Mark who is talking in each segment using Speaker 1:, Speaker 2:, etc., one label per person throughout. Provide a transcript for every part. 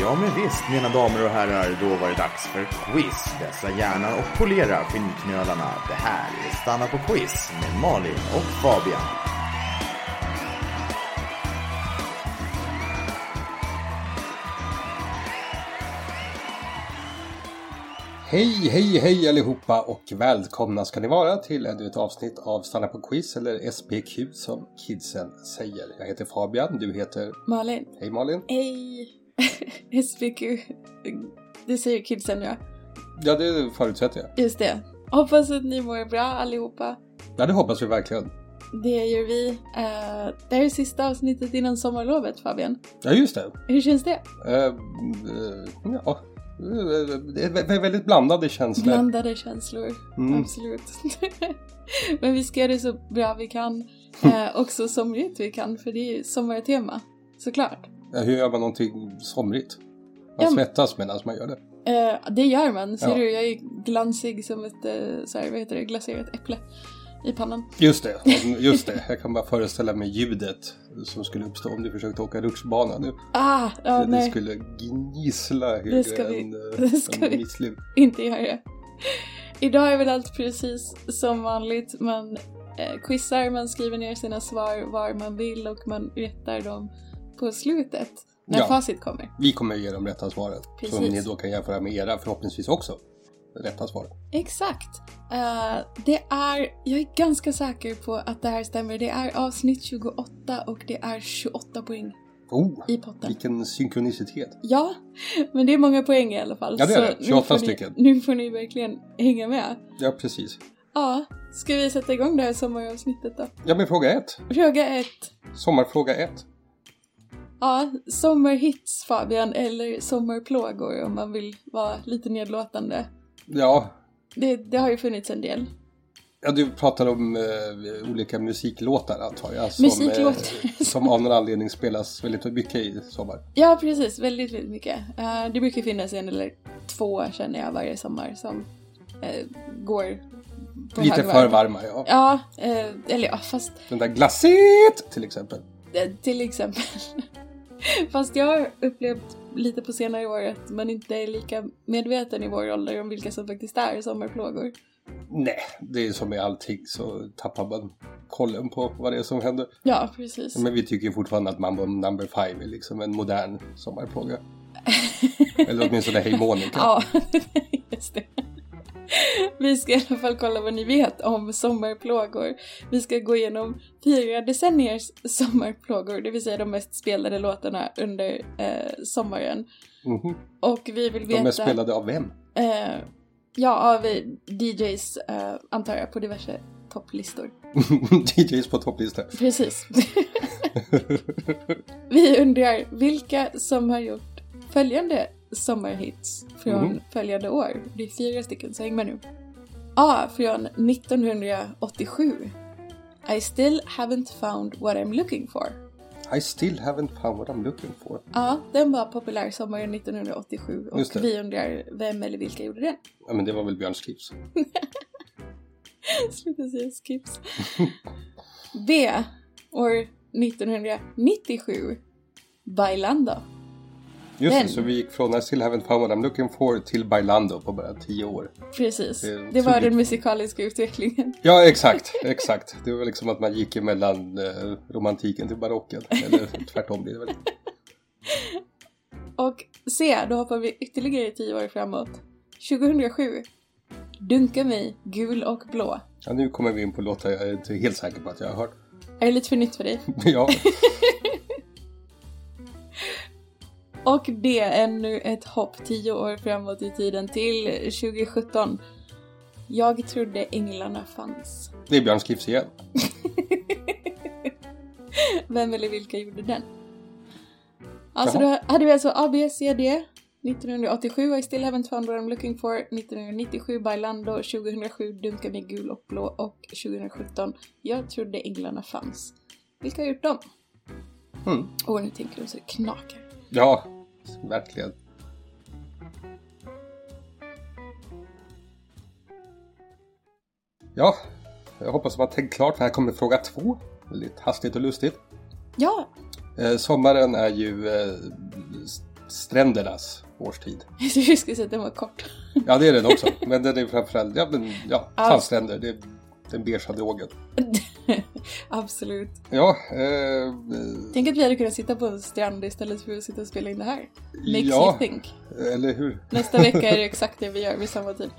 Speaker 1: Ja, men visst, mina damer och herrar, då var det dags för quiz. Vässa hjärnan och polera skinnknölarna. Det här är Stanna på quiz med Malin och Fabian.
Speaker 2: Hej, hej, hej allihopa och välkomna ska ni vara till ännu ett avsnitt av Stanna på quiz eller SPQ som kidsen säger. Jag heter Fabian, du heter...
Speaker 3: Malin.
Speaker 2: Hej Malin!
Speaker 3: Hej! SPQ. Det säger kidsen ja.
Speaker 2: Ja, det förutsätter jag.
Speaker 3: Just det. Hoppas att ni mår bra allihopa.
Speaker 2: Ja, det hoppas vi verkligen.
Speaker 3: Det gör vi. Eh, det här är sista avsnittet innan sommarlovet Fabian.
Speaker 2: Ja, just det.
Speaker 3: Hur känns det?
Speaker 2: Eh, eh, ja. Eh, Det är vä- väldigt blandade känslor.
Speaker 3: Blandade känslor.
Speaker 2: Mm.
Speaker 3: Absolut. Men vi ska göra det så bra vi kan. Eh, och så somrigt vi kan, för det är ju sommartema. Såklart.
Speaker 2: Ja, Hur gör man någonting somrigt?
Speaker 3: Ja,
Speaker 2: Man
Speaker 3: men-
Speaker 2: svettas medan man gör det.
Speaker 3: Eh, det gör man. Ser
Speaker 2: Ja.
Speaker 3: du, jag är glansig som ett, eh, så här, vad heter det, glaserat äpple i pannan.
Speaker 2: Just det, just det. Jag kan bara föreställa mig ljudet som skulle uppstå om du försökte åka rutschbana nu.
Speaker 3: Ah, ja,
Speaker 2: det, det
Speaker 3: nej.
Speaker 2: skulle gnissla högre
Speaker 3: ska vi-
Speaker 2: än, eh,
Speaker 3: det ska
Speaker 2: än
Speaker 3: vi-
Speaker 2: mitt sliv.
Speaker 3: inte göra det. Idag är väl allt precis som vanligt. Man eh, quizar, man skriver ner sina svar var man vill och man rättar dem på slutet när
Speaker 2: Ja.
Speaker 3: facit kommer.
Speaker 2: Vi kommer ge de rätta svaren.
Speaker 3: Precis.
Speaker 2: Som ni då kan jämföra med era förhoppningsvis också. Rätta svar.
Speaker 3: Exakt! Eh, det är, jag är ganska säker på att det här stämmer. Det är avsnitt 28 och det är 28 poäng
Speaker 2: Oh,
Speaker 3: i potten.
Speaker 2: vilken synkronicitet.
Speaker 3: Ja, men det är många poäng i alla fall.
Speaker 2: Ja, det är det.
Speaker 3: nu
Speaker 2: 28
Speaker 3: får ni-
Speaker 2: stycken.
Speaker 3: Nu får ni verkligen hänga med.
Speaker 2: Ja, precis.
Speaker 3: Ja, ska vi sätta igång det här sommaravsnittet då?
Speaker 2: Ja, men fråga ett.
Speaker 3: Fråga ett.
Speaker 2: Sommarfråga ett.
Speaker 3: Ja, sommarhits Fabian, eller sommarplågor om man vill vara lite nedlåtande.
Speaker 2: Ja,
Speaker 3: Det, det har ju funnits en del.
Speaker 2: ja du pratar om eh, olika musiklåtar antar jag. Som, eh,
Speaker 3: Musiklåtar.
Speaker 2: som av någon anledning spelas väldigt mycket i sommar.
Speaker 3: Ja, precis, väldigt, väldigt mycket. Eh, det brukar finnas en eller två känner jag varje sommar som eh, går på
Speaker 2: Lite
Speaker 3: högvarv.
Speaker 2: för varma, ja.
Speaker 3: Ja, eh, eller ja, fast
Speaker 2: Den där glaset till exempel.
Speaker 3: eh, till exempel. fast jag har upplevt lite på senare år att man inte är lika medveten i vår ålder om vilka som faktiskt är sommarplågor.
Speaker 2: Nej, det är som med allting så tappar man kollen på vad det är som händer.
Speaker 3: Ja, precis.
Speaker 2: Men vi tycker ju fortfarande att Mambo Number Five är liksom en modern sommarplåga. Eller åtminstone Hej Monica.
Speaker 3: Ja, just det. Vi ska i alla fall kolla vad ni vet om sommarplågor. Vi ska gå igenom fyra decenniers sommarplågor, det vill säga de mest spelade låtarna under eh, sommaren.
Speaker 2: Mhm.
Speaker 3: Och vi vill
Speaker 2: De är
Speaker 3: veta...
Speaker 2: spelade av vem?
Speaker 3: eh, ja, av eh, DJs, eh, antar jag, på diverse topplistor.
Speaker 2: DJs på topplistan.
Speaker 3: Precis. vi undrar vilka som har gjort följande sommarhits från
Speaker 2: Mhm.
Speaker 3: följande år. Det är fyra stycken, så häng med nu. A. Från 1987. I still haven't found what I'm looking for.
Speaker 2: I still haven't found what I'm looking for.
Speaker 3: Ja, den var populär sommaren 1987 och
Speaker 2: Just det.
Speaker 3: vi undrar vem eller vilka gjorde den?
Speaker 2: Ja men det var väl Björn Skifs.
Speaker 3: Sluta säga skips. B. År 1997. Bailando.
Speaker 2: Just
Speaker 3: Den.
Speaker 2: det, så vi gick från I still haven't found what I'm looking for till Bailando på bara tio år.
Speaker 3: Precis.
Speaker 2: Det är
Speaker 3: Det,
Speaker 2: otroligt.
Speaker 3: var den musikaliska utvecklingen.
Speaker 2: Ja exakt, exakt. Det var liksom att man gick emellan eh, romantiken till barocken. Eller tvärtom blir det väl.
Speaker 3: Och se, då hoppar vi ytterligare tio år framåt. 2007. Dunka mig, gul och blå.
Speaker 2: Ja, nu kommer vi in på låtar jag är inte helt säker på att jag har hört.
Speaker 3: Är det lite för nytt för dig?
Speaker 2: ja.
Speaker 3: Och det är nu ett hopp tio år framåt i tiden till 2017. Jag trodde änglarna fanns.
Speaker 2: Det är Björn Skifs igen.
Speaker 3: Vem eller vilka gjorde den? Alltså
Speaker 2: Jaha.
Speaker 3: då hade vi alltså A, B, C, D 1987 I still haven't found what I'm looking for 1997 Bailando 2007 Dunka mig gul och blå och 2017 Jag trodde änglarna fanns. Vilka har gjort dem?
Speaker 2: Mm.
Speaker 3: Åh, nu tänker de så det knakar.
Speaker 2: Ja, verkligen. Ja, jag hoppas man har tänkt klart för här kommer fråga två. Väldigt hastigt och lustigt.
Speaker 3: Ja,
Speaker 2: Eh, sommaren är ju eh, strändernas årstid.
Speaker 3: Jag skulle säga att den var kort.
Speaker 2: Ja, det är den också. Men den är framförallt, ja, men, ja
Speaker 3: Ja.
Speaker 2: sandstränder. Det är den beiga drogen.
Speaker 3: Absolut.
Speaker 2: Ja, eh,
Speaker 3: Tänk att vi hade kunnat sitta på en strand istället för att sitta och spela in det här. Makes
Speaker 2: ja,
Speaker 3: you think.
Speaker 2: eller hur?
Speaker 3: Nästa vecka är det exakt det vi gör vid samma tid.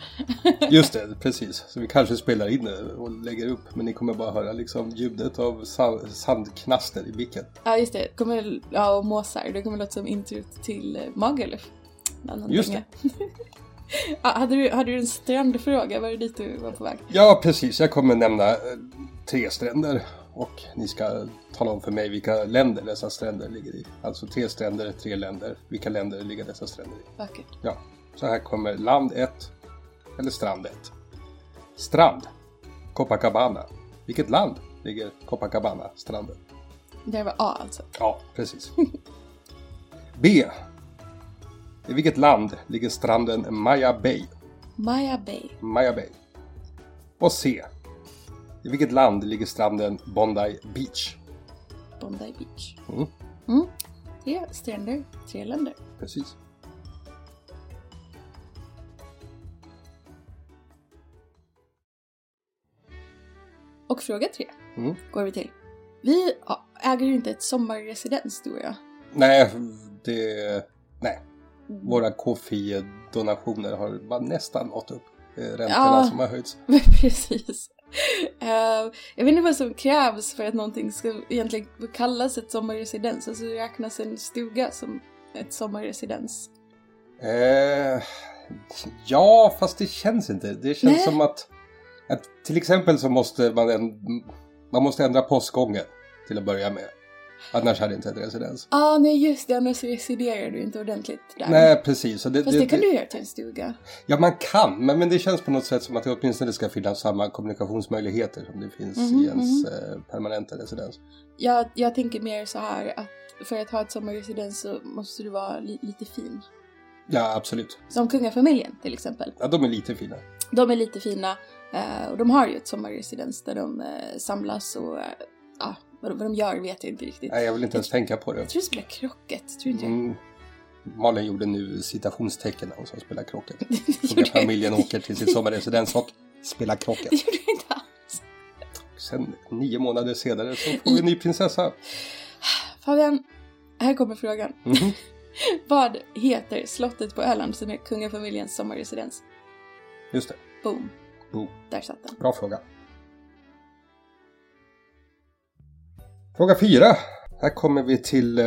Speaker 2: Just det, precis. Så vi kanske spelar in det och lägger upp, men ni kommer bara höra liksom ljudet av sa- sandknaster i micken.
Speaker 3: Ja, just det. Kommer, ja, och måsar. Det kommer låta som introt till eh, Magaluf. En annan
Speaker 2: Just
Speaker 3: dänga. ja, hade, du, hade du en strandfråga? Var det dit du var på väg?
Speaker 2: Ja, precis. Jag kommer nämna eh, tre stränder och ni ska tala om för mig vilka länder dessa stränder ligger i. Alltså tre stränder, tre länder. Vilka länder ligger dessa stränder i?
Speaker 3: Vackert.
Speaker 2: Ja, så här kommer land 1 eller strand 1. Strand, Copacabana. Vilket land ligger Copacabana, stranden?
Speaker 3: Det här var A alltså.
Speaker 2: Ja, precis. B. I vilket land ligger stranden Maya Bay?
Speaker 3: Maya Bay.
Speaker 2: Maya Bay. Och C. I vilket land ligger stranden Bondi Beach?
Speaker 3: Bondi Beach.
Speaker 2: Mm.
Speaker 3: Mm. Tre stränder, tre länder.
Speaker 2: Precis.
Speaker 3: Och fråga tre
Speaker 2: Mm.
Speaker 3: går vi till. Vi ja, äger ju inte ett sommarresidens, du och jag.
Speaker 2: Nej, det... Nej. Våra KFI-donationer har bara nästan nått upp eh, räntorna
Speaker 3: Ja.
Speaker 2: som har höjts.
Speaker 3: Precis. Eh, jag vet inte vad som krävs för att någonting ska egentligen kallas ett sommarresidens. Alltså räknas en stuga som ett sommarresidens?
Speaker 2: Eh, ja, fast det känns inte. Det känns
Speaker 3: Nej.
Speaker 2: som att, att till exempel så måste man, en, man måste ändra postgången till att börja med. Annars hade det inte ett residens.
Speaker 3: ah, nej just det, annars residerar du inte ordentligt där.
Speaker 2: Nej, precis. Så det,
Speaker 3: Fast det kan du göra till en stuga.
Speaker 2: Ja, man kan, men, men det känns på något sätt som att det åtminstone ska finnas samma kommunikationsmöjligheter som det finns
Speaker 3: Mhm,
Speaker 2: i ens eh, permanenta residens.
Speaker 3: Jag, jag tänker mer så här att för att ha ett sommarresidens så måste du vara li- lite fin.
Speaker 2: Ja, absolut.
Speaker 3: Som kungafamiljen till exempel.
Speaker 2: Ja, de är lite fina.
Speaker 3: De är lite fina eh, och de har ju ett sommarresidens där de eh, samlas och eh, ja, vad, de- vad de gör vet jag inte riktigt.
Speaker 2: Nej, jag vill inte ens tänka på det.
Speaker 3: Jag tror de spelar krocket, tror inte jag?
Speaker 2: Mm. Malin gjorde nu citationstecken när hon sa spela krocket.
Speaker 3: Det
Speaker 2: Tog
Speaker 3: gjorde
Speaker 2: att familjen åker till sitt sommarresidens och spelar krocket.
Speaker 3: Det gjorde jag inte alls.
Speaker 2: Sen nio månader senare så får vi en ny prinsessa.
Speaker 3: Fabian, här kommer frågan.
Speaker 2: Mhm.
Speaker 3: Vad heter slottet på Öland som är kungafamiljens sommarresidens?
Speaker 2: Just det,
Speaker 3: Boom.
Speaker 2: Boom.
Speaker 3: Där satt den.
Speaker 2: bra fråga. Fråga fyra. Här kommer vi till eh,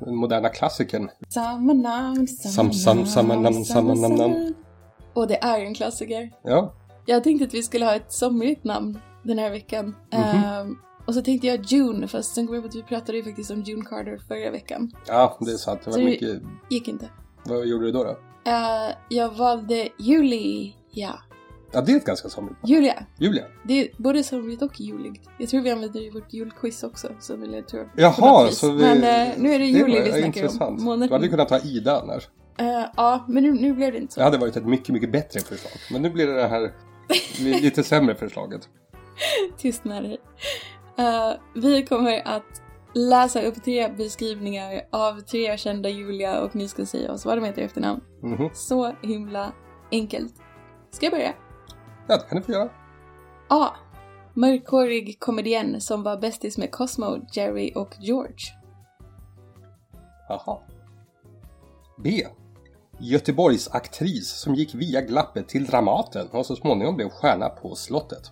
Speaker 2: den moderna klassikern.
Speaker 3: Samma namn, samma
Speaker 2: Sam- sam-
Speaker 3: namn,
Speaker 2: samma namn, samma namn.
Speaker 3: Och det är en klassiker.
Speaker 2: Ja,
Speaker 3: Jag tänkte att vi skulle ha ett somrigt namn den här veckan.
Speaker 2: Mhm.
Speaker 3: Ehm, och så tänkte jag June, fast sen kom jag på att vi pratade ju faktiskt om June Carter förra veckan.
Speaker 2: ja det är sant. Det var
Speaker 3: Så vi-
Speaker 2: mycket...
Speaker 3: Gick inte.
Speaker 2: Vad gjorde du då? då?
Speaker 3: Eh, jag valde Julia.
Speaker 2: Ja, det är ett ganska somrigt namn.
Speaker 3: Julia.
Speaker 2: Julia.
Speaker 3: Det är både somrigt och juligt. Jag tror vi använder det i vårt julquiz också. Så vill jag tror, på
Speaker 2: Jaha,
Speaker 3: något vis.
Speaker 2: så vi...
Speaker 3: Men eh, nu är det juli
Speaker 2: var
Speaker 3: vi snackar
Speaker 2: intressant.
Speaker 3: om.
Speaker 2: Du hade
Speaker 3: Månaden.
Speaker 2: kunnat ta Ida annars.
Speaker 3: Eh, ja, men nu, nu blev det inte så.
Speaker 2: Det hade varit ett mycket, mycket bättre förslag. Men nu blir det det här li- lite sämre förslaget.
Speaker 3: Tystnad. Eh, vi kommer att läsa upp tre beskrivningar av tre kända Julia och ni ska säga oss vad de heter i efternamn.
Speaker 2: Mhm.
Speaker 3: Så himla enkelt. Ska jag börja?
Speaker 2: Ja, det kan du få göra.
Speaker 3: A. Mörkhårig komedien som var bästis med Cosmo, Jerry och George.
Speaker 2: Jaha. B. Göteborgs aktris som gick via glappet till Dramaten och så småningom blev stjärna på slottet.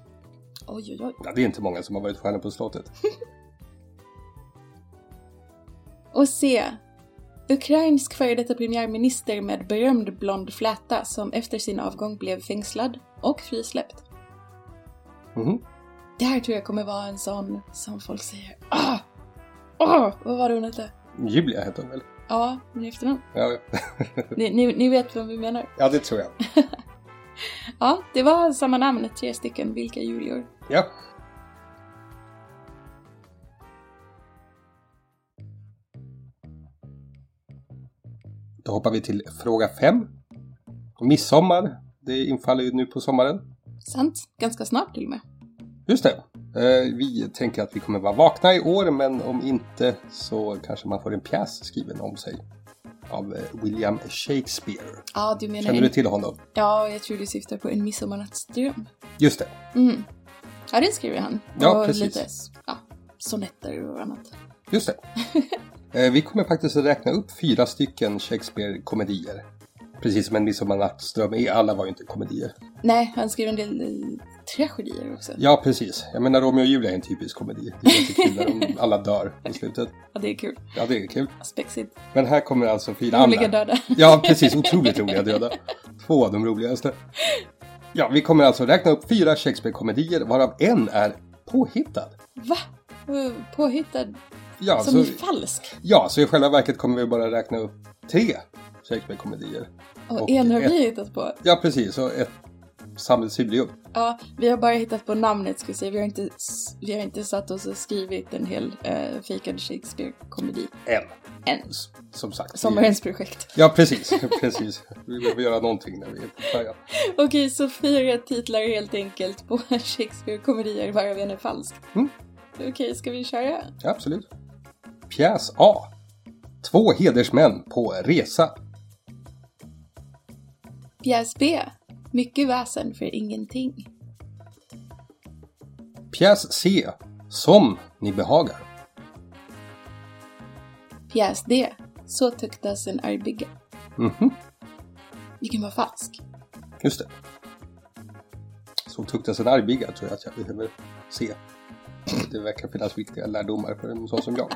Speaker 3: Oj, oj, oj.
Speaker 2: Ja, det är inte många som har varit stjärna på slottet.
Speaker 3: Och C. Ukrainsk före detta premiärminister med berömd blond fläta som efter sin avgång blev fängslad och frisläppt.
Speaker 2: Mhm.
Speaker 3: Det här tror jag kommer vara en sån som folk säger ah! ah, Vad var det hon hette?
Speaker 2: Julia hette hon väl?
Speaker 3: Ja, men i efternamn.
Speaker 2: Ja,
Speaker 3: Ni, ni, ni vet vem vi menar.
Speaker 2: ja, det tror jag.
Speaker 3: Ja, det var samma namn, tre stycken. Vilka Julior?
Speaker 2: Ja. Då hoppar vi till fråga 5. Midsommar, det infaller ju nu på sommaren.
Speaker 3: Sant. Ganska snart till och med.
Speaker 2: Just det. Eh, Vi tänker att vi kommer vara vakna i år, men om inte så kanske man får en pjäs skriven om sig. av eh, William Shakespeare.
Speaker 3: Ja, du menar...
Speaker 2: Känner du till honom?
Speaker 3: Ja, jag tror du syftar på En midsommarnattsdröm.
Speaker 2: Just det.
Speaker 3: Mm. Ja, den skriver han.
Speaker 2: Ja,
Speaker 3: och
Speaker 2: precis.
Speaker 3: lite ja, sonetter och annat.
Speaker 2: Just det. Eh, Vi kommer faktiskt att räkna upp fyra stycken Shakespeare-komedier. Precis som en midsommarnattsdröm är, alla var ju inte komedier.
Speaker 3: Nej, han skriver en del eh, tragedier också.
Speaker 2: Ja, precis. Jag menar Romeo och Julia är en typisk komedi. Det är jättekul när de alla dör i slutet.
Speaker 3: Ja, det är kul.
Speaker 2: Ja, det är kul.
Speaker 3: Spexigt.
Speaker 2: Men här kommer alltså fyra
Speaker 3: Roliga
Speaker 2: andra.
Speaker 3: döda.
Speaker 2: Ja, precis. Otroligt roliga döda. Två av de roligaste. Ja, vi kommer alltså räkna upp fyra Shakespeare-komedier varav en är påhittad.
Speaker 3: Va? Eh, Påhittad?
Speaker 2: Ja,
Speaker 3: Som är
Speaker 2: så,
Speaker 3: falsk?
Speaker 2: ja, så i själva verket kommer vi bara räkna upp tre Shakespeare-komedier.
Speaker 3: Och,
Speaker 2: och
Speaker 3: en har
Speaker 2: ett-
Speaker 3: vi hittat på.
Speaker 2: Ja, precis. Och ett samhällsjubileum.
Speaker 3: Ja, vi har bara hittat på namnet skulle jag säga. Vi har inte, s- vi har inte satt oss och skrivit en hel eh, fejkad Shakespeare-komedi.
Speaker 2: En.
Speaker 3: En.
Speaker 2: S- Som sagt. vi-
Speaker 3: Sommarens projekt.
Speaker 2: Ja, precis. precis. Vi behöver göra någonting när vi är på färjan.
Speaker 3: Okej, så fyra titlar helt enkelt på Shakespeare-komedier varav en är falsk.
Speaker 2: Mm.
Speaker 3: Okej, ska vi köra?
Speaker 2: Ja, absolut. Pjäs A. Två hedersmän på resa.
Speaker 3: Pjäs B. Mycket väsen för ingenting.
Speaker 2: Pjäs C. Som ni behagar.
Speaker 3: Pjäs D. Så tuktas en argbygge.
Speaker 2: Mhm,
Speaker 3: Vilken var falsk?
Speaker 2: just det. Så tuktas en argbigga tror jag att jag behöver se. Det verkar finnas viktiga lärdomar för en sån som jag.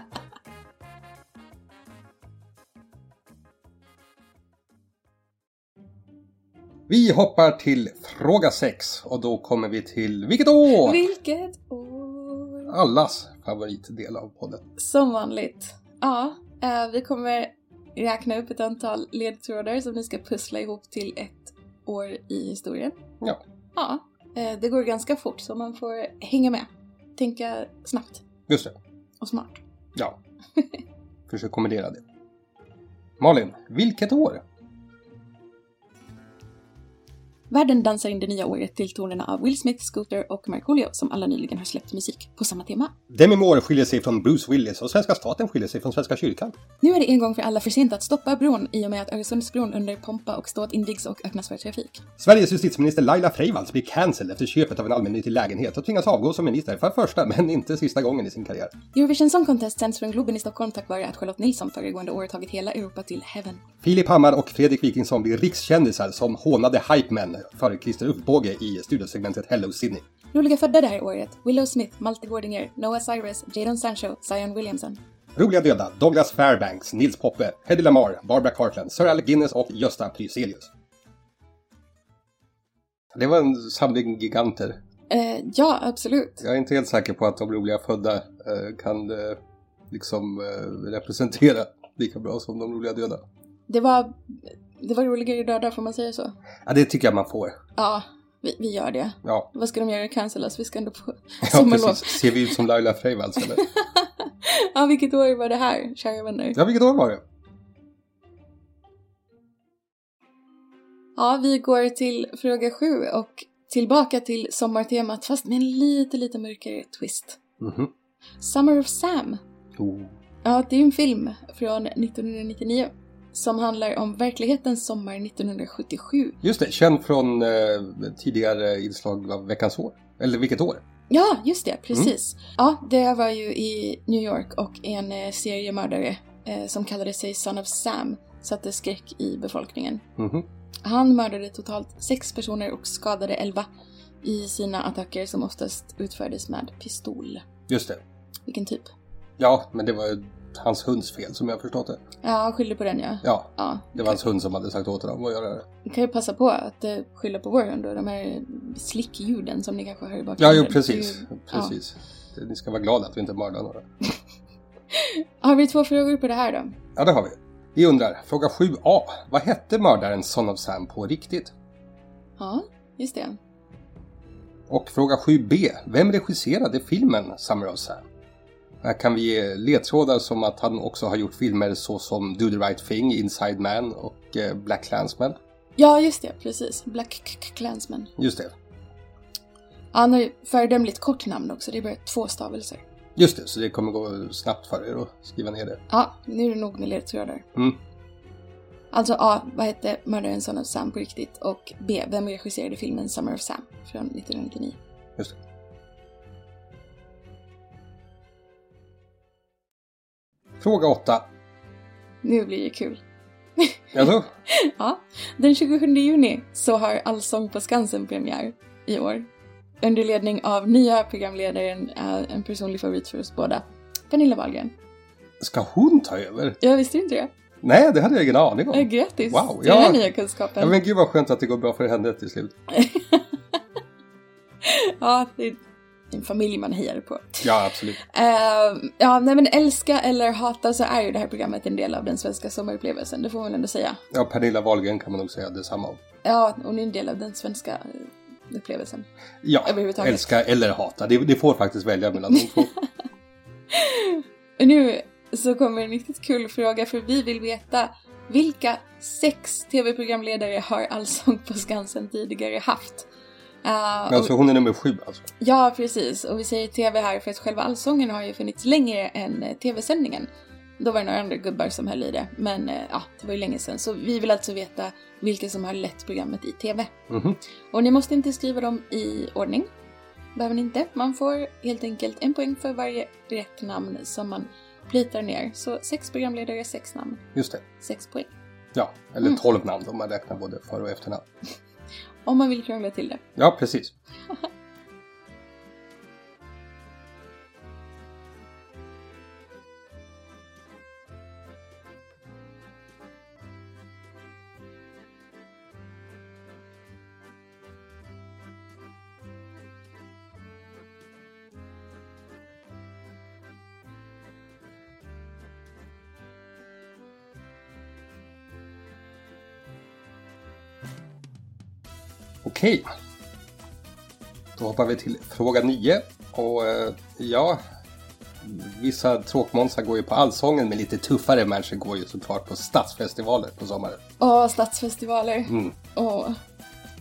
Speaker 2: Vi hoppar till fråga 6 och då kommer vi till vilket år?
Speaker 3: Vilket år?
Speaker 2: Allas favoritdel av podden.
Speaker 3: Som vanligt. Ja, eh, vi kommer räkna upp ett antal ledtrådar som ni ska pussla ihop till ett år i historien.
Speaker 2: Ja.
Speaker 3: Ja, eh, det går ganska fort så man får hänga med. Tänka snabbt
Speaker 2: Just det.
Speaker 3: och smart.
Speaker 2: Ja. Försök kombinera det. Malin, vilket år?
Speaker 3: Världen dansar in det nya året till tonerna av Will Smith, Scooter och Markoolio som alla nyligen har släppt musik på samma tema.
Speaker 2: Demi Moore skiljer sig från Bruce Willis och svenska staten skiljer sig från Svenska kyrkan.
Speaker 3: Nu är det en gång för alla för sent att stoppa bron i och med att Öresundsbron under pompa och ståt invigs och öppnas för trafik.
Speaker 2: Sveriges justitieminister Laila Freivalds blir cancelled efter köpet av en allmännyttig lägenhet och tvingas avgå som minister för första, men inte sista gången i sin karriär.
Speaker 3: Eurovision Song Contest sänds från Globen i Stockholm tack vare att Charlotte Nilsson föregående år tagit hela Europa till heaven.
Speaker 2: Filip Hammar och Fredrik Wikingsson blir rikskändisar som hånade hypemen före Christer Uppbåge i studiosegmentet Hello Sydney.
Speaker 3: Roliga födda det här året Willow Smith, Malte Gårdinger, Noah Cyrus, Jadon Sancho, Zion Williamson.
Speaker 2: Roliga döda Douglas Fairbanks, Nils Poppe, Hedy Lamarr, Barbara Cartland, Sir Alec Guinness och Gösta Pryselius. Det var en samling giganter.
Speaker 3: Eh, ja, absolut.
Speaker 2: Jag är inte helt säker på att de roliga födda eh, kan eh, liksom eh, representera lika bra som de roliga döda.
Speaker 3: Det var, det var roligare döda, får man säga så?
Speaker 2: Ja, det tycker jag man får.
Speaker 3: Ja, vi, vi gör det.
Speaker 2: Ja,
Speaker 3: Vad ska de göra? Cancella oss? Vi ska ändå på
Speaker 2: ja
Speaker 3: sommarlov.
Speaker 2: precis. Ser vi ut som Laila Freivalds eller?
Speaker 3: Ja, vilket år var det här, kära vänner?
Speaker 2: Ja, vilket år var det?
Speaker 3: Ja, vi går till fråga sju och tillbaka till sommartemat fast med en lite, lite mörkare twist.
Speaker 2: Mhm.
Speaker 3: Summer of Sam.
Speaker 2: Oh.
Speaker 3: Ja, det är en film från 1999 som handlar om verklighetens sommar 1977.
Speaker 2: Just det, känd från eh, tidigare inslag av Veckans år. Eller vilket år?
Speaker 3: Ja, just det, precis. Ja, det var ju i New York och en eh, seriemördare eh, som kallade sig Son of Sam satte skräck i befolkningen.
Speaker 2: Mhm.
Speaker 3: Han mördade totalt sex personer och skadade elva i sina attacker som oftast utfördes med pistol.
Speaker 2: Just det.
Speaker 3: Vilken typ?
Speaker 2: Ja, men det var ju hans hunds fel som jag förstått det.
Speaker 3: Ja, han skyller på den ja.
Speaker 2: Ja,
Speaker 3: Ja,
Speaker 2: det var alltså- hans hund som hade sagt åt honom att göra det.
Speaker 3: vi kan ju passa på att eh, skylla på vår hund och de här slickljuden som ni kanske hör i
Speaker 2: Ja,
Speaker 3: bakgrunden.
Speaker 2: jo,
Speaker 3: Det
Speaker 2: precis.
Speaker 3: är ju-
Speaker 2: precis. Ni ska vara glada att vi inte mördar några.
Speaker 3: Ja. Har vi två frågor på det här då?
Speaker 2: Ja, det har vi. Vi undrar, fråga 7a. Vad hette mördaren Son of Sam på riktigt?
Speaker 3: Ja, just det.
Speaker 2: Och fråga 7b. Vem regisserade filmen Summer of Sam? Här kan vi ge ledtrådar som att han också har gjort filmer såsom Do the Right Thing, Inside Man och eh, Black Clansman.
Speaker 3: Ja, just det, precis. Black K- K- Clansman.
Speaker 2: Just det.
Speaker 3: Ja, han har ju föredömligt kort namn också, det är bara två stavelser.
Speaker 2: Just det, så det kommer gå snabbt för er att skriva ner det.
Speaker 3: Ja, nu är det nog med ledtrådar.
Speaker 2: Mm.
Speaker 3: Alltså A. Vad hette Mördaren Son of Sam på riktigt? Och B. Vem regisserade filmen Summer of Sam från 1999?
Speaker 2: Just det. Fråga 8.
Speaker 3: Nu blir det kul.
Speaker 2: Alltså,
Speaker 3: Ja, den 27 juni så har Allsång på Skansen premiär i år. Under ledning av nya programledaren, eh, en personlig favorit för oss båda, Pernilla Wahlgren.
Speaker 2: ska hon ta över?
Speaker 3: Jag visste inte det.
Speaker 2: Nej, det hade jag ingen aning
Speaker 3: Eh,
Speaker 2: om.
Speaker 3: Grattis
Speaker 2: Wow,
Speaker 3: till den här
Speaker 2: ja.
Speaker 3: nya
Speaker 2: Ja,
Speaker 3: kunskapen.
Speaker 2: men gud vad skönt att det går bra för henne till slut.
Speaker 3: Ja, det är en familj man hejar på.
Speaker 2: Ja, absolut.
Speaker 3: Eh, ja, nej men älska eller hata så är ju det här programmet en del av den svenska sommarupplevelsen, det får man väl ändå säga.
Speaker 2: Ja, Pernilla Wahlgren kan man nog säga detsamma om.
Speaker 3: Ja, hon är en del av den svenska eh, upplevelsen.
Speaker 2: Ja,
Speaker 3: Överhuvudtaget.
Speaker 2: älska eller hata. Det, det får faktiskt välja mellan de två.
Speaker 3: Nu så kommer en riktigt kul fråga för vi vill veta vilka sex tv-programledare har Allsång på Skansen tidigare haft? Eh, och-
Speaker 2: Alltså hon är nummer sju alltså.
Speaker 3: Ja, precis. Och vi säger tv här för att själva allsången har ju funnits längre än eh, tv-sändningen. Då var det några andra gubbar som höll i det, men eh, ja, det var ju länge sedan. Så vi vill alltså veta vilka som har lett programmet i tv.
Speaker 2: Mhm.
Speaker 3: Och ni måste inte skriva dem i ordning. Behöver ni inte. Man får helt enkelt en poäng för varje rätt namn som man plitar ner. Så sex programledare, sex namn,
Speaker 2: Just det.
Speaker 3: sex poäng.
Speaker 2: Ja, eller
Speaker 3: Mm.
Speaker 2: tolv namn om man räknar både för och efternamn.
Speaker 3: Om man vill krångla till det.
Speaker 2: Ja, precis. Okej. Då hoppar vi till fråga 9. Och eh, ja, vissa tråkmånsar går ju på Allsången men lite tuffare människor går ju såklart på stadsfestivaler på sommaren.
Speaker 3: Åh, stadsfestivaler.
Speaker 2: Mm.
Speaker 3: Åh.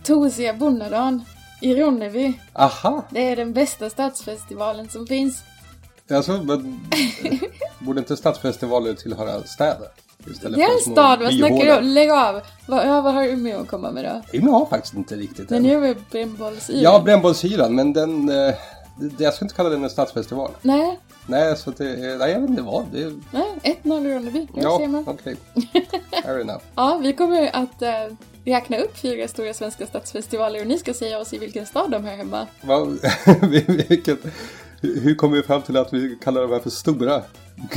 Speaker 3: Tosiga Bonnadan i Ronneby.
Speaker 2: Aha!
Speaker 3: Det är den bästa stadsfestivalen som finns.
Speaker 2: Alltså, men, eh, borde inte stadsfestivaler tillhöra städer? Istället
Speaker 3: Det
Speaker 2: för
Speaker 3: är en
Speaker 2: små
Speaker 3: stad, vad snackar du
Speaker 2: byhålor?
Speaker 3: om? Lägg av! Vad, ja, vad har Umeå att komma med då?
Speaker 2: Umeå har faktiskt inte riktigt
Speaker 3: Den
Speaker 2: en.
Speaker 3: är väl brännbollsyra?
Speaker 2: Ja, brännbollsyran, men den... eh, det- Jag skulle inte kalla den en stadsfestival.
Speaker 3: Nej,
Speaker 2: Nej, så att det, är- nej, jag vet inte vad. Det, är-
Speaker 3: nej, 1-0 i Ronneby. Där
Speaker 2: ja,
Speaker 3: ser man.
Speaker 2: okej. Fair enough.
Speaker 3: Ja, vi kommer att eh, räkna upp fyra stora svenska stadsfestivaler och ni ska säga oss i vilken stad de hör hemma.
Speaker 2: Va, vilket, hur kommer vi fram till att vi kallar de här för stora?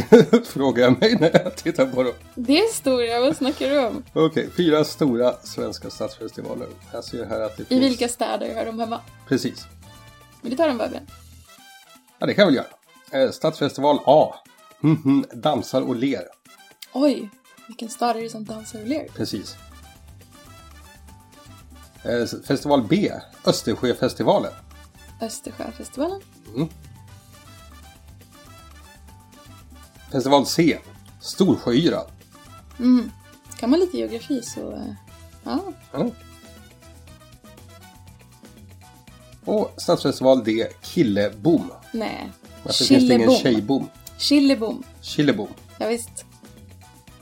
Speaker 2: Frågar jag mig när jag tittar på dem.
Speaker 3: Det är stora, vad snackar du om?
Speaker 2: Okej, fyra stora svenska stadsfestivaler. Jag ser här att det
Speaker 3: I
Speaker 2: finns...
Speaker 3: vilka städer hör de hemma?
Speaker 2: Precis.
Speaker 3: Men det tar de bara med.
Speaker 2: Ja, det kan vi väl göra. Eh, Stadsfestival A. Mhm, Dansar och ler.
Speaker 3: Oj, vilken stad är det som dansar och ler?
Speaker 2: Precis. Eh, Festival B. Östersjöfestivalen.
Speaker 3: Östersjöfestivalen?
Speaker 2: Festival C. Storsjöyran.
Speaker 3: Mm. Kan man lite geografi så... eh, Ja,
Speaker 2: Mm. Och stadsfestival D, Killebom.
Speaker 3: nej.
Speaker 2: Varför finns det ingen
Speaker 3: Killebom.
Speaker 2: tjejbom?
Speaker 3: Killebom.
Speaker 2: Killebom.
Speaker 3: Ja, visst.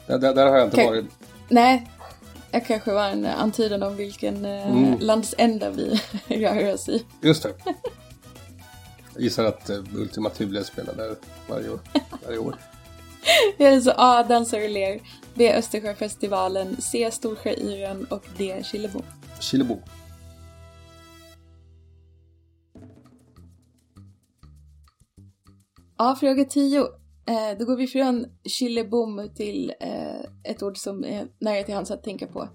Speaker 2: Där, där, där har jag inte
Speaker 3: Okej.
Speaker 2: varit.
Speaker 3: Nej, jag kanske var en antydan om vilken eh,
Speaker 2: Mm.
Speaker 3: landsända vi rör oss i.
Speaker 2: Just det. Jag gissar att eh, Ultima Thule spelar där varje år. Varje år.
Speaker 3: Det är alltså A. Dansar och ler, B. Östersjöfestivalen, C. Storsjöyran och D. Killebom.
Speaker 2: Killebom.
Speaker 3: Ja, fråga 10. Eh, då går vi från Killebom till eh, ett ord som är nära till hands att tänka på.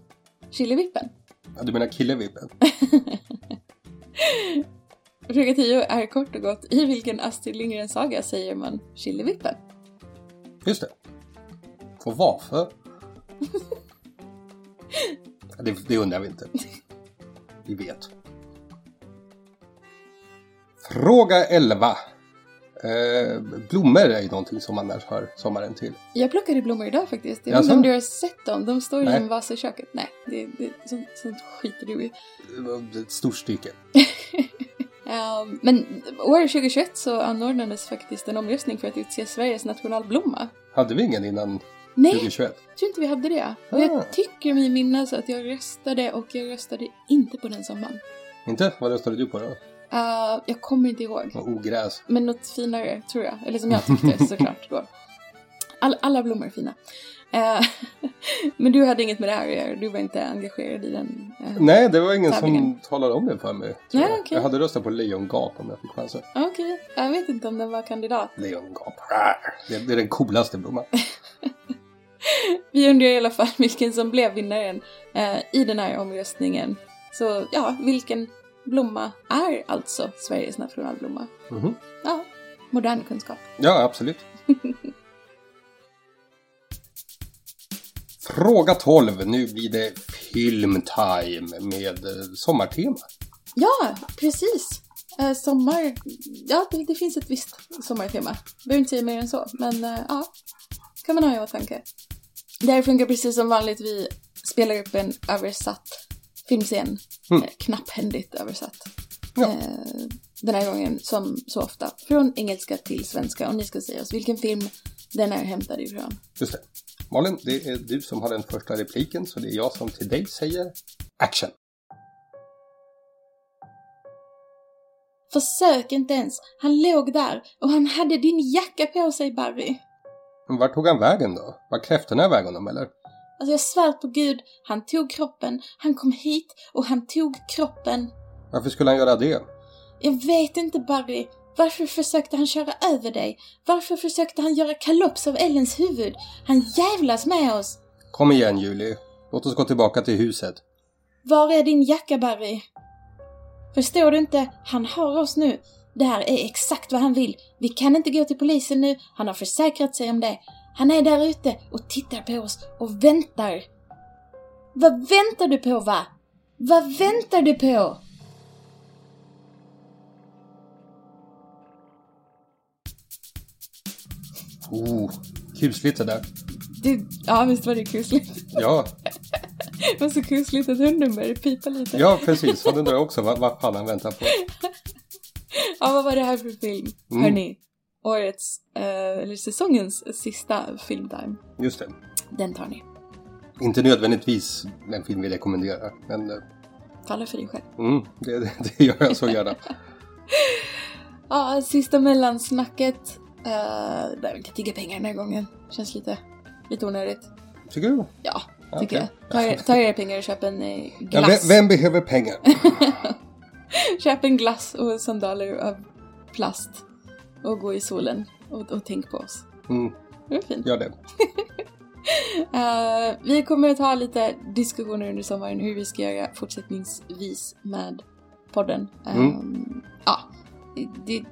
Speaker 3: Killevippen.
Speaker 2: Ja, du menar Killevippen?
Speaker 3: Fråga 10 är kort och gott, i vilken Astrid Lindgren-saga säger man Killevippen?
Speaker 2: Just det. Och varför? Ja, det, det undrar vi inte. Vi vet. Fråga 11. Eh, blommor är ju någonting som annars hör sommaren till.
Speaker 3: Jag plockade blommor idag faktiskt. Jag vet
Speaker 2: Jaså?
Speaker 3: inte om du har sett dem? De står i
Speaker 2: Nej.
Speaker 3: en vas i köket. Nej, det, det, sånt, sånt skiter du i.
Speaker 2: Eh, Ett stort stycke.
Speaker 3: Ehm, men år 2021 så anordnades faktiskt en omröstning för att utse Sveriges nationalblomma.
Speaker 2: Hade vi ingen innan
Speaker 3: Nej,
Speaker 2: 2021?
Speaker 3: jag tror inte vi hade det. Och
Speaker 2: Ah.
Speaker 3: jag tycker mig minnas att jag röstade och jag röstade inte på den summan.
Speaker 2: Inte? Vad röstade du på då?
Speaker 3: Eh, jag kommer inte ihåg.
Speaker 2: Vad Ogräs.
Speaker 3: Men något finare, tror jag. Eller som jag tyckte såklart då. All, alla blommor är fina. Eh, men du hade inget med det här att göra. Du var inte engagerad i den. eh.
Speaker 2: Nej, det var ingen som
Speaker 3: Tävlingen.
Speaker 2: talade om det för mig. tror
Speaker 3: Nej,
Speaker 2: jag.
Speaker 3: okej.
Speaker 2: jag hade röstat på Lejongap om jag fick chansen.
Speaker 3: Okej, jag vet inte om den var kandidat.
Speaker 2: Lejongap. Rar. Det, det är den coolaste blomman.
Speaker 3: Vi undrar i alla fall vilken som blev vinnaren eh, i den här omröstningen. Så ja, vilken blomma är alltså Sveriges nationalblomma?
Speaker 2: Mhm.
Speaker 3: Ja, modern kunskap.
Speaker 2: Ja, absolut. Fråga 12. Nu blir det filmtime med eh, sommartema.
Speaker 3: Ja, precis! Eh, sommar... Ja, det, det finns ett visst sommartema. Behöver inte säga mer än så, men eh, ja. kan man ha i åtanke. Det här funkar precis som vanligt. Vi spelar upp en översatt filmscen.
Speaker 2: Mm.
Speaker 3: Eh, knapphändigt översatt.
Speaker 2: Ja.
Speaker 3: Eh, den här gången, som så ofta, från engelska till svenska. Och ni ska säga oss vilken film den är hämtad ifrån.
Speaker 2: Just det. Malin, det är du som har den första repliken, så det är jag som till dig säger action.
Speaker 3: Försök inte ens! Han låg där och han hade din jacka på sig, Barry!
Speaker 2: Men Vart tog han vägen då? Var kräftorna vägen dem eller?
Speaker 3: Alltså jag svär på gud, han tog kroppen, han kom hit och han tog kroppen.
Speaker 2: Varför skulle han göra det?
Speaker 3: Jag vet inte Barry, varför försökte han köra över dig? Varför försökte han göra kalops av Ellens huvud? Han jävlas med oss!
Speaker 2: Kom igen Julie. Låt oss gå tillbaka till huset.
Speaker 3: Var är din jacka Barry? Förstår du inte? Han har oss nu. Det här är exakt vad han vill. Vi kan inte gå till polisen nu, han har försäkrat sig om det. Han är där ute och tittar på oss och väntar. Vad väntar du på va? Vad väntar du på?
Speaker 2: Oh, kusligt det där.
Speaker 3: Det, ja, visst var det kusligt?
Speaker 2: Ja,
Speaker 3: Det var så kusligt att hunden började pipa lite.
Speaker 2: ja precis. Han undrar också vad, vad fan han väntar på.
Speaker 3: Ja, vad var det här för film?
Speaker 2: Mm.
Speaker 3: Hörni, årets, eh, eller säsongens sista filmtime.
Speaker 2: Just det.
Speaker 3: Den tar ni.
Speaker 2: Inte nödvändigtvis den film vi rekommenderar, men eh,
Speaker 3: Tala för dig själv.
Speaker 2: mm, det, det, det gör jag så gärna.
Speaker 3: Ja, sista mellansnacket. Uh, behöver inte tigga pengar den här gången. Känns lite, lite onödigt.
Speaker 2: Tycker du?
Speaker 3: Ja, tycker
Speaker 2: Okej.
Speaker 3: jag. Ta, er- ta era pengar och köp en eh,
Speaker 2: Ja,
Speaker 3: glass.
Speaker 2: vem, vem behöver pengar?
Speaker 3: Köp en glass och sandaler av plast. Och gå i solen och, och tänk på oss.
Speaker 2: Mm,
Speaker 3: Det var fint.
Speaker 2: gör det.
Speaker 3: Eh, vi kommer att ha lite diskussioner under sommaren hur vi ska göra fortsättningsvis med podden. Eh, Ja, det,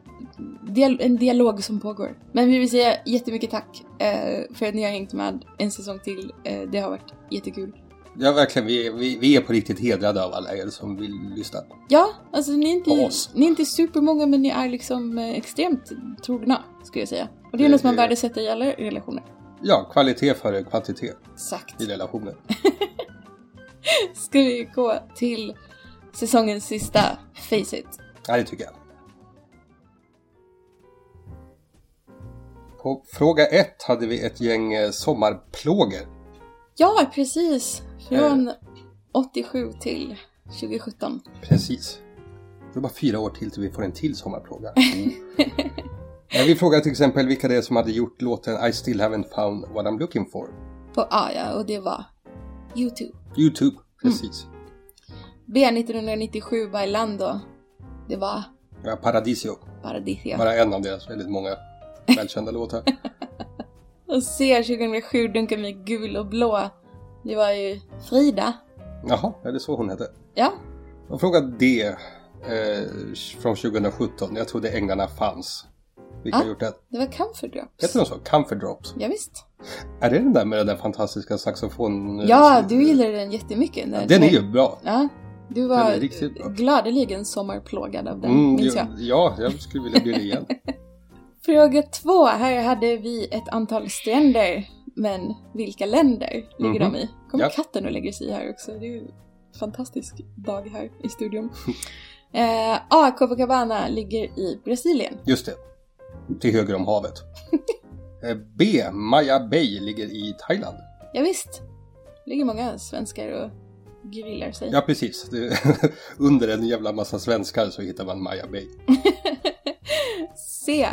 Speaker 3: dial- en dialog som pågår. Men vi vill säga jättemycket tack eh, för att ni har hängt med en säsong till. Eh, det har varit jättekul.
Speaker 2: Ja, verkligen. Vi, är- vi, vi är på riktigt hedrade av alla er som vill lyssna.
Speaker 3: Ja, alltså ni är
Speaker 2: På
Speaker 3: inte,
Speaker 2: oss.
Speaker 3: ni är inte supermånga men ni är liksom eh, extremt trogna, skulle jag säga. Och det är
Speaker 2: Det-
Speaker 3: något man
Speaker 2: det-
Speaker 3: värdesätter i alla relationer.
Speaker 2: Ja, kvalitet före kvantitet
Speaker 3: Exakt.
Speaker 2: i relationen.
Speaker 3: Ska vi gå till säsongens sista Face It?
Speaker 2: Ja, det tycker jag. På fråga ett hade vi ett gäng eh, sommarplågor.
Speaker 3: Ja, precis. Från
Speaker 2: Eh.
Speaker 3: 87 till 2017.
Speaker 2: Precis. Det är bara fyra år till till vi får en till sommarplåga. Mm. Men vi frågade till exempel vilka det är som hade gjort låten I still haven't found what I'm looking for.
Speaker 3: På Aja och det var YouTube.
Speaker 2: Youtube,
Speaker 3: Mm.
Speaker 2: precis.
Speaker 3: B 1997 Bailando. Det var
Speaker 2: Ja, Paradisio,
Speaker 3: Paradisia.
Speaker 2: bara en av deras väldigt många välkända låtar.
Speaker 3: Och C 2007 Dunka mig gul och blå. Det var ju Frida.
Speaker 2: Jaha, är det så hon hette?
Speaker 3: Ja,
Speaker 2: Och fråga D eh, från 2017. Jag trodde änglarna fanns. Vilka har
Speaker 3: Ah.
Speaker 2: gjort det?
Speaker 3: det var Comfort Drops.
Speaker 2: Heter de så? Comfort Drops?
Speaker 3: Ja, visst.
Speaker 2: Är det den där med den där fantastiska saxofon...
Speaker 3: Ja, du gillade den jättemycket.
Speaker 2: den. Den är ju bra.
Speaker 3: Ja, du
Speaker 2: Den
Speaker 3: var
Speaker 2: är riktigt bra.
Speaker 3: gladeligen sommarplågad av den,
Speaker 2: Mm,
Speaker 3: minns jag.
Speaker 2: ja, ja, jag skulle vilja bli det igen.
Speaker 3: Fråga två. Här hade vi ett antal stränder. Men vilka länder ligger
Speaker 2: Mhm.
Speaker 3: de i? Kommer
Speaker 2: Ja.
Speaker 3: katten och lägger sig här också. Det är ju en fantastisk dag här i studion. eh, A. Copacabana ligger i Brasilien.
Speaker 2: Just det. Till höger om havet. Eh, B. Maja Bay ligger i Thailand.
Speaker 3: Ja, visst. Det ligger många svenskar och grillar sig.
Speaker 2: Ja, precis. Det, under en jävla massa svenskar så hittar man Maja Bay.
Speaker 3: C.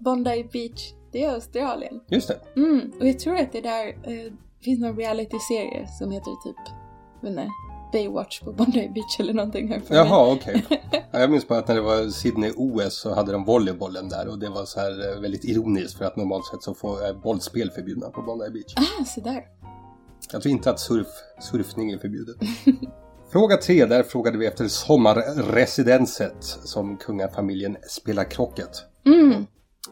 Speaker 3: Bondi Beach. Det är Australien.
Speaker 2: Just det.
Speaker 3: Mm, och jag tror att det där eh, finns någon realityserie som heter typ, jag vet inte, Baywatch på Bondi Beach eller någonting. Här för mig.
Speaker 2: Jaha, okej. Ja, jag minns bara att när det var Sydney-OS så hade de volleybollen där och det var så här eh, väldigt ironiskt för att normalt sett så får eh, bollspel förbjudna på Bondi Beach.
Speaker 3: Ah, se där.
Speaker 2: Jag tror Alltså inte att surf, surfning är förbjudet. Fråga tre, där frågade vi efter sommarresidenset som kungafamiljen spelar krocket.
Speaker 3: Mm.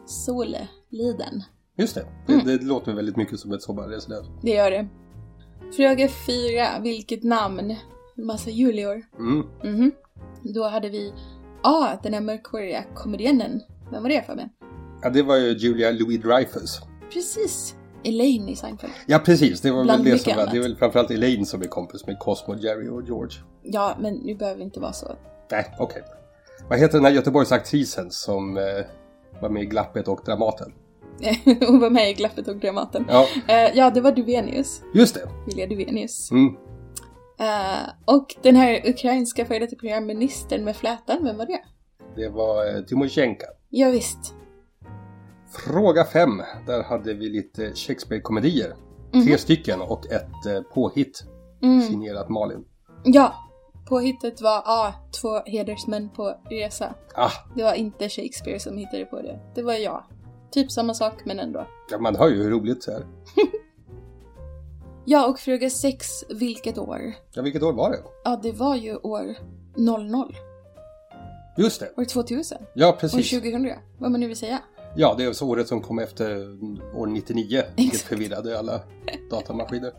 Speaker 3: Sole, Liden.
Speaker 2: Just det, det,
Speaker 3: Mm.
Speaker 2: det låter väldigt mycket som ett sommarresidens.
Speaker 3: Det gör det. Fråga fyra, vilket namn? En massa Julior.
Speaker 2: Mm.
Speaker 3: Mhm. Då hade vi A, den här mörkhåriga komediannen. Vem var det Fabian?
Speaker 2: Ja, det var ju Julia Louis-Dreyfus.
Speaker 3: Precis. Elaine i Seinfeld.
Speaker 2: Ja, precis. Det var
Speaker 3: Bland
Speaker 2: väl det
Speaker 3: mycket
Speaker 2: som var. Det är
Speaker 3: annat.
Speaker 2: väl framförallt Elaine som är kompis med Cosmo, Jerry och George.
Speaker 3: Ja, men nu behöver vi inte vara så.
Speaker 2: Nej, okej. Vad heter den här Göteborgsaktrisen som eh, var med i Glappet och Dramaten?
Speaker 3: Hon var med i Glappet och Dramaten.
Speaker 2: Ja,
Speaker 3: Eh, ja, det var Duvenius.
Speaker 2: just det.
Speaker 3: Julia Duvenius.
Speaker 2: Mm.
Speaker 3: Eh, och den här ukrainska före detta premiärministern med flätan, vem var det?
Speaker 2: Det var eh, Timosjenko.
Speaker 3: Ja, visst.
Speaker 2: Fråga fem. Där hade vi lite Shakespeare-komedier.
Speaker 3: Mhm.
Speaker 2: Tre stycken och ett eh, påhitt
Speaker 3: Mm.
Speaker 2: signerat Malin.
Speaker 3: Ja, påhittet var A. Två hedersmän på resa.
Speaker 2: Ah,
Speaker 3: Det var inte Shakespeare som hittade på det. Det var jag. Typ samma sak, men ändå.
Speaker 2: ja, man hör ju hur roligt det är.
Speaker 3: Ja, och fråga 6. Vilket år?
Speaker 2: Ja, vilket år var det?
Speaker 3: Ja, det var ju år 00.
Speaker 2: Just det.
Speaker 3: År 2000.
Speaker 2: Ja,
Speaker 3: År
Speaker 2: precis.
Speaker 3: 2000. Vad man nu vill säga.
Speaker 2: Ja, det är så året som kom efter mm, år 99, vilket
Speaker 3: Exakt.
Speaker 2: förvirrade alla datamaskiner.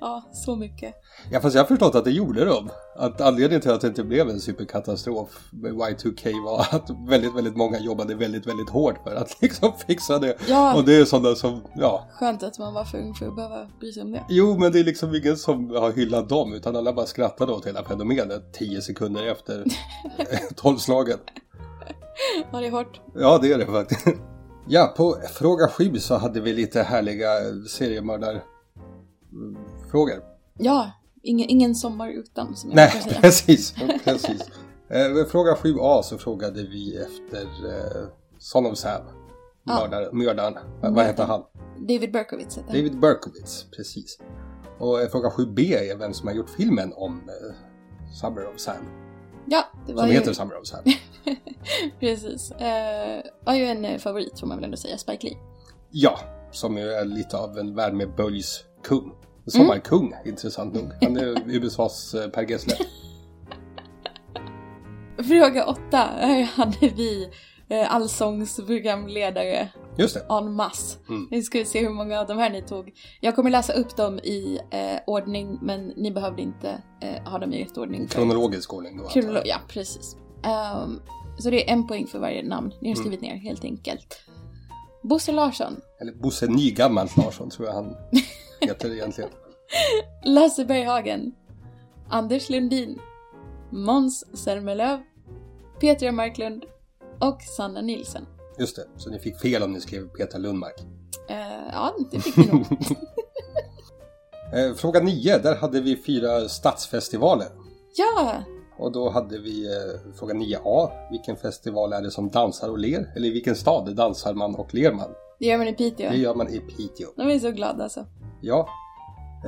Speaker 3: Ja, så mycket.
Speaker 2: Ja, fast jag har förstått att det gjorde de. Att anledningen till att det inte blev en superkatastrof med Y2K var att väldigt, väldigt många jobbade väldigt, väldigt hårt för att liksom fixa det.
Speaker 3: Ja,
Speaker 2: Och det är sådana som, ja.
Speaker 3: skönt att man var för ung för att behöva bry sig om det.
Speaker 2: Jo, men det är liksom ingen som har hyllat dem, utan alla bara skrattade åt hela fenomenet tio sekunder efter tolvslaget.
Speaker 3: Ja, det är hårt.
Speaker 2: Ja, det är det faktiskt. Ja, på fråga sju så hade vi lite härliga seriemördarfrågor.
Speaker 3: Ja, ingen, ingen sommar utan som jag
Speaker 2: Nej,
Speaker 3: brukar säga.
Speaker 2: precis. precis. Eh, med fråga 7a så frågade vi efter eh, Son of Sam.
Speaker 3: Ja.
Speaker 2: Mördaren. mördaren. Va- Vad
Speaker 3: Mördaren.
Speaker 2: heter han?
Speaker 3: David Berkowitz heter han.
Speaker 2: David Berkowitz. Precis. Och eh, fråga 7b är vem som har gjort filmen om eh, Summer of Sam.
Speaker 3: Ja, det var
Speaker 2: Som
Speaker 3: ju...
Speaker 2: heter Summer of Sam.
Speaker 3: Precis. Eh, var ju en eh, favorit får man väl ändå säga, Spike Lee.
Speaker 2: ja, som ju är lite av en värmeböljs kung. En sommarkung, intressant nog. Han är USAs eh, Per Gessle.
Speaker 3: Fråga åtta. Här hade vi eh, allsångsprogramledare
Speaker 2: Just det.
Speaker 3: en masse.
Speaker 2: Mm.
Speaker 3: Nu ska vi se hur många av de här ni tog. Jag kommer läsa upp dem i eh, ordning, men ni behövde inte eh, ha dem i rätt
Speaker 2: I
Speaker 3: ordning.
Speaker 2: kronologisk ordning då. antar jag.
Speaker 3: Kronolo- ja, precis. Ehm, så det är en poäng för varje namn. Ni har skrivit ner, helt enkelt. Bosse Larsson,
Speaker 2: Eller Bosse Nygammalt Larsson tror jag han heter egentligen.
Speaker 3: Lasse Berghagen, Anders Lundin, Måns Zelmerlöw, Petra Marklund och Sanna Nilsen.
Speaker 2: Just det, så ni fick fel om ni skrev Peter Lundmark.
Speaker 3: Eh, ja, det fick ni nog.
Speaker 2: Eh, Fråga 9, där hade vi fyra stadsfestivaler.
Speaker 3: Ja!
Speaker 2: Och då hade vi eh, fråga 9a, vilken festival är det som dansar och ler? Eller i vilken stad dansar man och ler man?
Speaker 3: Det gör man i Piteå.
Speaker 2: Det gör man i Piteå.
Speaker 3: De är så glada alltså.
Speaker 2: Ja.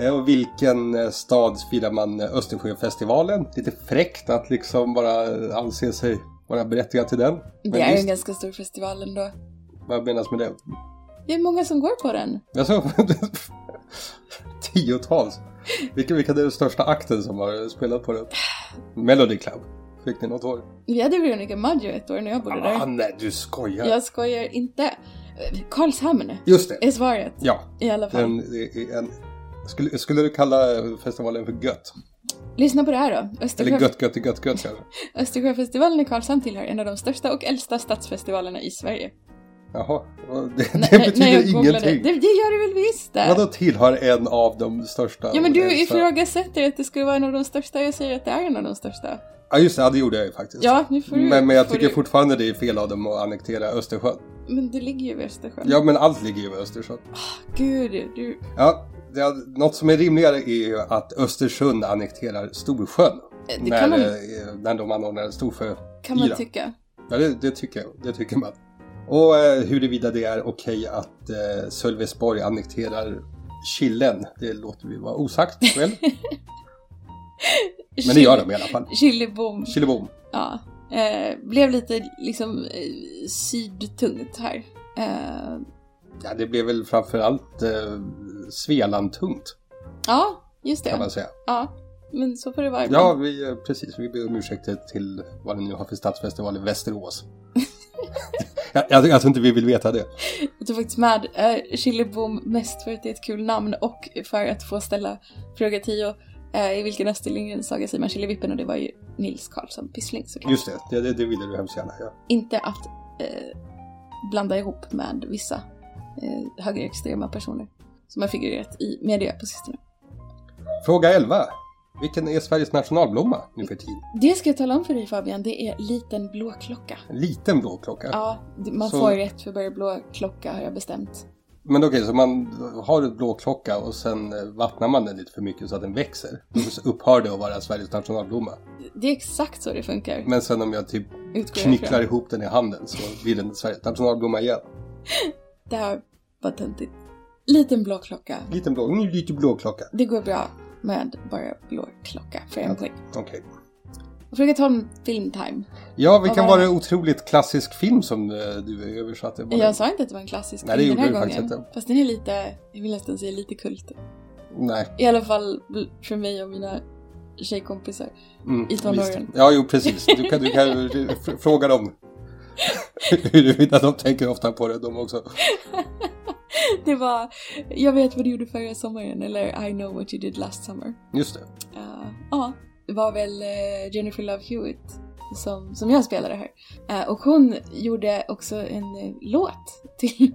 Speaker 2: Eh, Och vilken eh, stad firar man eh, Östersjöfestivalen? Lite fräckt att liksom bara eh, anse sig vara berättigad till den. Men
Speaker 3: Det är en
Speaker 2: visst,
Speaker 3: ganska stor festival ändå.
Speaker 2: vad menas med det?
Speaker 3: Det är många som går på den.
Speaker 2: Alltså, tiotals. Vilken, vilken är den största akten som har spelat på det? Melody Club. Fick ni något år?
Speaker 3: Vi hade Veronica Maggio ett år när jag bodde
Speaker 2: Ah,
Speaker 3: där.
Speaker 2: nej, du skojar.
Speaker 3: Jag skojar inte. Eh, Karlshamn
Speaker 2: Just det.
Speaker 3: är svaret
Speaker 2: Ja,
Speaker 3: i alla fall.
Speaker 2: den är en... Skulle, skulle du kalla eh, festivalen för gött?
Speaker 3: Lyssna på det här då. Östersjö...
Speaker 2: Eller gött, gött, gött, gött kanske?
Speaker 3: Östersjöfestivalen i Karlshamn tillhör en av de största och äldsta stadsfestivalerna i Sverige.
Speaker 2: Jaha, och det,
Speaker 3: Nej,
Speaker 2: det
Speaker 3: nej,
Speaker 2: betyder
Speaker 3: nej, jag googlade.
Speaker 2: ingenting.
Speaker 3: Det, det gör det väl visst det?
Speaker 2: Vadå tillhör en av de största?
Speaker 3: Ja men
Speaker 2: och
Speaker 3: du
Speaker 2: äldsta?
Speaker 3: ifrågasätter att det skulle vara en av de största. Jag säger att det är en av de största.
Speaker 2: Ja just det, ja, det gjorde jag ju faktiskt.
Speaker 3: Ja, nu får du...
Speaker 2: men, men jag
Speaker 3: får
Speaker 2: tycker
Speaker 3: du...
Speaker 2: fortfarande det är fel av dem att annektera Östersjön.
Speaker 3: Men det ligger ju vid Östersjön.
Speaker 2: Ja men allt ligger ju i Östersjön.
Speaker 3: Gud, du...
Speaker 2: Ja, det, något som är rimligare är ju att Östersund annekterar Storsjön.
Speaker 3: Det
Speaker 2: när,
Speaker 3: kan man,
Speaker 2: eh, när de anordnar Storsjö.
Speaker 3: kan man
Speaker 2: fyra.
Speaker 3: tycka.
Speaker 2: Ja, det, det tycker jag. Det tycker man. Och eh, huruvida det är okej att eh, Sölvesborg annekterar Killen, det låter vi vara osagt väl? Men det gör de i alla fall.
Speaker 3: Chilibom.
Speaker 2: Killebom.
Speaker 3: Ja. Eh, blev lite liksom eh, sydtungt här. Eh,
Speaker 2: Ja, det blev väl framförallt eh, Svealand-tungt
Speaker 3: ja, just
Speaker 2: kan man
Speaker 3: det.
Speaker 2: säga.
Speaker 3: Ja. Men så får det vara
Speaker 2: Ja,
Speaker 3: ibland.
Speaker 2: vi, eh, precis. Vi ber om ursäkt till vad ni nu har för stadsfestival i Västerås. jag, jag, jag tror inte vi vill veta det.
Speaker 3: Jag tog faktiskt med eh, Chilibom mest för att det är ett kul namn och för att få ställa fråga 10 eh, i vilken Österlindgrens saga säger man Chilivippen och det var ju Nils Karlsson Pyssling såklart.
Speaker 2: Just det, det, det, det ville du hemskt gärna. Ja.
Speaker 3: Inte att eh, blanda ihop med vissa eh, högerextrema personer som har figurerat i media på sistone.
Speaker 2: Fråga 11. Vilken är Sveriges nationalblomma nu för tiden?
Speaker 3: Det ska jag tala om för dig Fabian, det är liten blåklocka.
Speaker 2: En liten blå klocka.
Speaker 3: Ja, det- man
Speaker 2: Så-
Speaker 3: får rätt för varje blå klocka har jag bestämt.
Speaker 2: Men okej, så man har en blå klocka och sen eh, vattnar man den lite för mycket så att den växer. Då så upphör det att vara Sveriges nationalblomma.
Speaker 3: Det är exakt så det funkar.
Speaker 2: Men sen om jag typ
Speaker 3: Utgår jag
Speaker 2: knycklar
Speaker 3: ifrån.
Speaker 2: ihop den i handen så blir den Sveriges nationalblomma igen.
Speaker 3: Det här var töntigt. Liten blå klocka.
Speaker 2: Liten blå, en liten blå klocka.
Speaker 3: Det går bra med bara blå klocka för en
Speaker 2: Ja.
Speaker 3: poäng.
Speaker 2: Okej.
Speaker 3: Och Fråga 12, filmtime.
Speaker 2: Ja, vilken
Speaker 3: Vad
Speaker 2: var
Speaker 3: var
Speaker 2: det
Speaker 3: det?
Speaker 2: otroligt klassisk film som eh, du översatte? Var det-
Speaker 3: Jag sa inte att det var en klassisk
Speaker 2: Nej, det
Speaker 3: film den
Speaker 2: gjorde
Speaker 3: här
Speaker 2: du
Speaker 3: gången.
Speaker 2: faktiskt inte.
Speaker 3: Fast den är lite, jag vill nästan säga lite kult.
Speaker 2: Nej.
Speaker 3: I alla fall bl- för mig och mina tjejkompisar.
Speaker 2: Mm,
Speaker 3: I tonåren.
Speaker 2: visst. Ja, jo precis. Du kan, du kan fr- fråga dem huruvida de tänker ofta på det de också.
Speaker 3: Det var, jag vet vad du gjorde förra sommaren, eller I know what you did last summer.
Speaker 2: Just det.
Speaker 3: Eh, Ja, det var väl eh, Jennifer Love Hewitt som, som jag spelade här. Eh, och hon gjorde också en eh, låt till,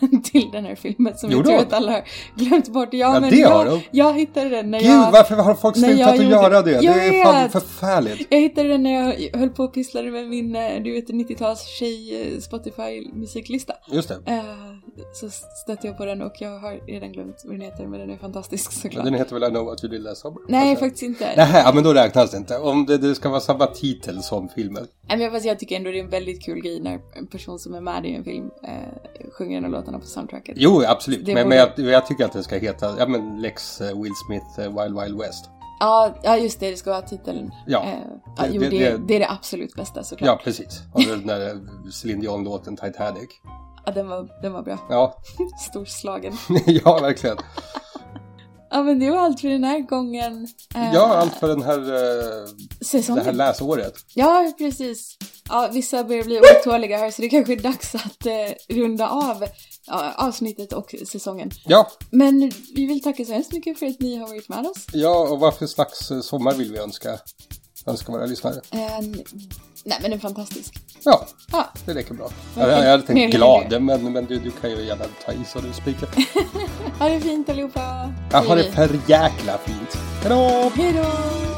Speaker 3: till den här filmen som
Speaker 2: Gjorde
Speaker 3: jag
Speaker 2: hon?
Speaker 3: tror att alla har glömt bort. Ja,
Speaker 2: Ja,
Speaker 3: men
Speaker 2: det
Speaker 3: jag,
Speaker 2: har de.
Speaker 3: jag hittade den när
Speaker 2: Gud,
Speaker 3: jag...
Speaker 2: varför har folk
Speaker 3: Nej,
Speaker 2: slutat
Speaker 3: jag
Speaker 2: att
Speaker 3: gjorde-
Speaker 2: göra det? Det
Speaker 3: Jag
Speaker 2: är fan
Speaker 3: vet.
Speaker 2: förfärligt.
Speaker 3: Jag hittade den när jag höll på och pysslade med min, eh, du vet, 90-tals tjej eh, Spotify-musiklista.
Speaker 2: Just det.
Speaker 3: Eh, så stötte jag på den och jag har redan glömt vad den heter, men den är fantastisk såklart.
Speaker 2: Den heter väl I know what you did last summer?
Speaker 3: Nej,
Speaker 2: Alltså.
Speaker 3: faktiskt inte.
Speaker 2: Nähä, ja, men då räknas det inte. Om det, det ska vara samma titel som filmen.
Speaker 3: Nej, men fast jag tycker ändå det är en väldigt kul grej när en person som är med i en film eh, sjunger en av låtarna på soundtracket.
Speaker 2: Jo, absolut.
Speaker 3: Det
Speaker 2: Men, men
Speaker 3: borde-
Speaker 2: jag, jag tycker att det ska heta, ja men Lex eh, Will Smith eh, Wild Wild West.
Speaker 3: Ja, ja, just det, det ska vara titeln.
Speaker 2: Ja,
Speaker 3: Eh, ja,
Speaker 2: det-
Speaker 3: jo,
Speaker 2: det-
Speaker 3: det,
Speaker 2: det-
Speaker 3: det, är det absolut bästa såklart.
Speaker 2: Ja, precis. Och den där eh, Céline Dion-låten Titanic.
Speaker 3: Ja, den, var, den var bra.
Speaker 2: Ja,
Speaker 3: Storslagen.
Speaker 2: ja verkligen.
Speaker 3: Eh. Ja, men det var allt för den här gången. Eh,
Speaker 2: Ja, allt för den här, eh, det
Speaker 3: Säsongen.
Speaker 2: här läsåret.
Speaker 3: Ja, precis. Ja, vissa börjar bli otåliga här så det kanske är dags att eh, runda av ja, avsnittet och säsongen.
Speaker 2: Ja,
Speaker 3: Men vi vill tacka så hemskt mycket för att ni har varit med oss.
Speaker 2: ja, och vad för slags eh, sommar vill vi önska? Önska våra lyssnare.
Speaker 3: En, Eh, nej, men en fantastisk.
Speaker 2: Ja,
Speaker 3: Ja,
Speaker 2: det räcker bra. Jag,
Speaker 3: Okej.
Speaker 2: jag hade
Speaker 3: Mer
Speaker 2: tänkt
Speaker 3: eller
Speaker 2: glad, men, men du, du kan ju gärna ta i så du spikar.
Speaker 3: ha det fint allihopa.
Speaker 2: Jag har det
Speaker 3: Hej.
Speaker 2: för jäkla fint. Hejdå!
Speaker 3: Hej då!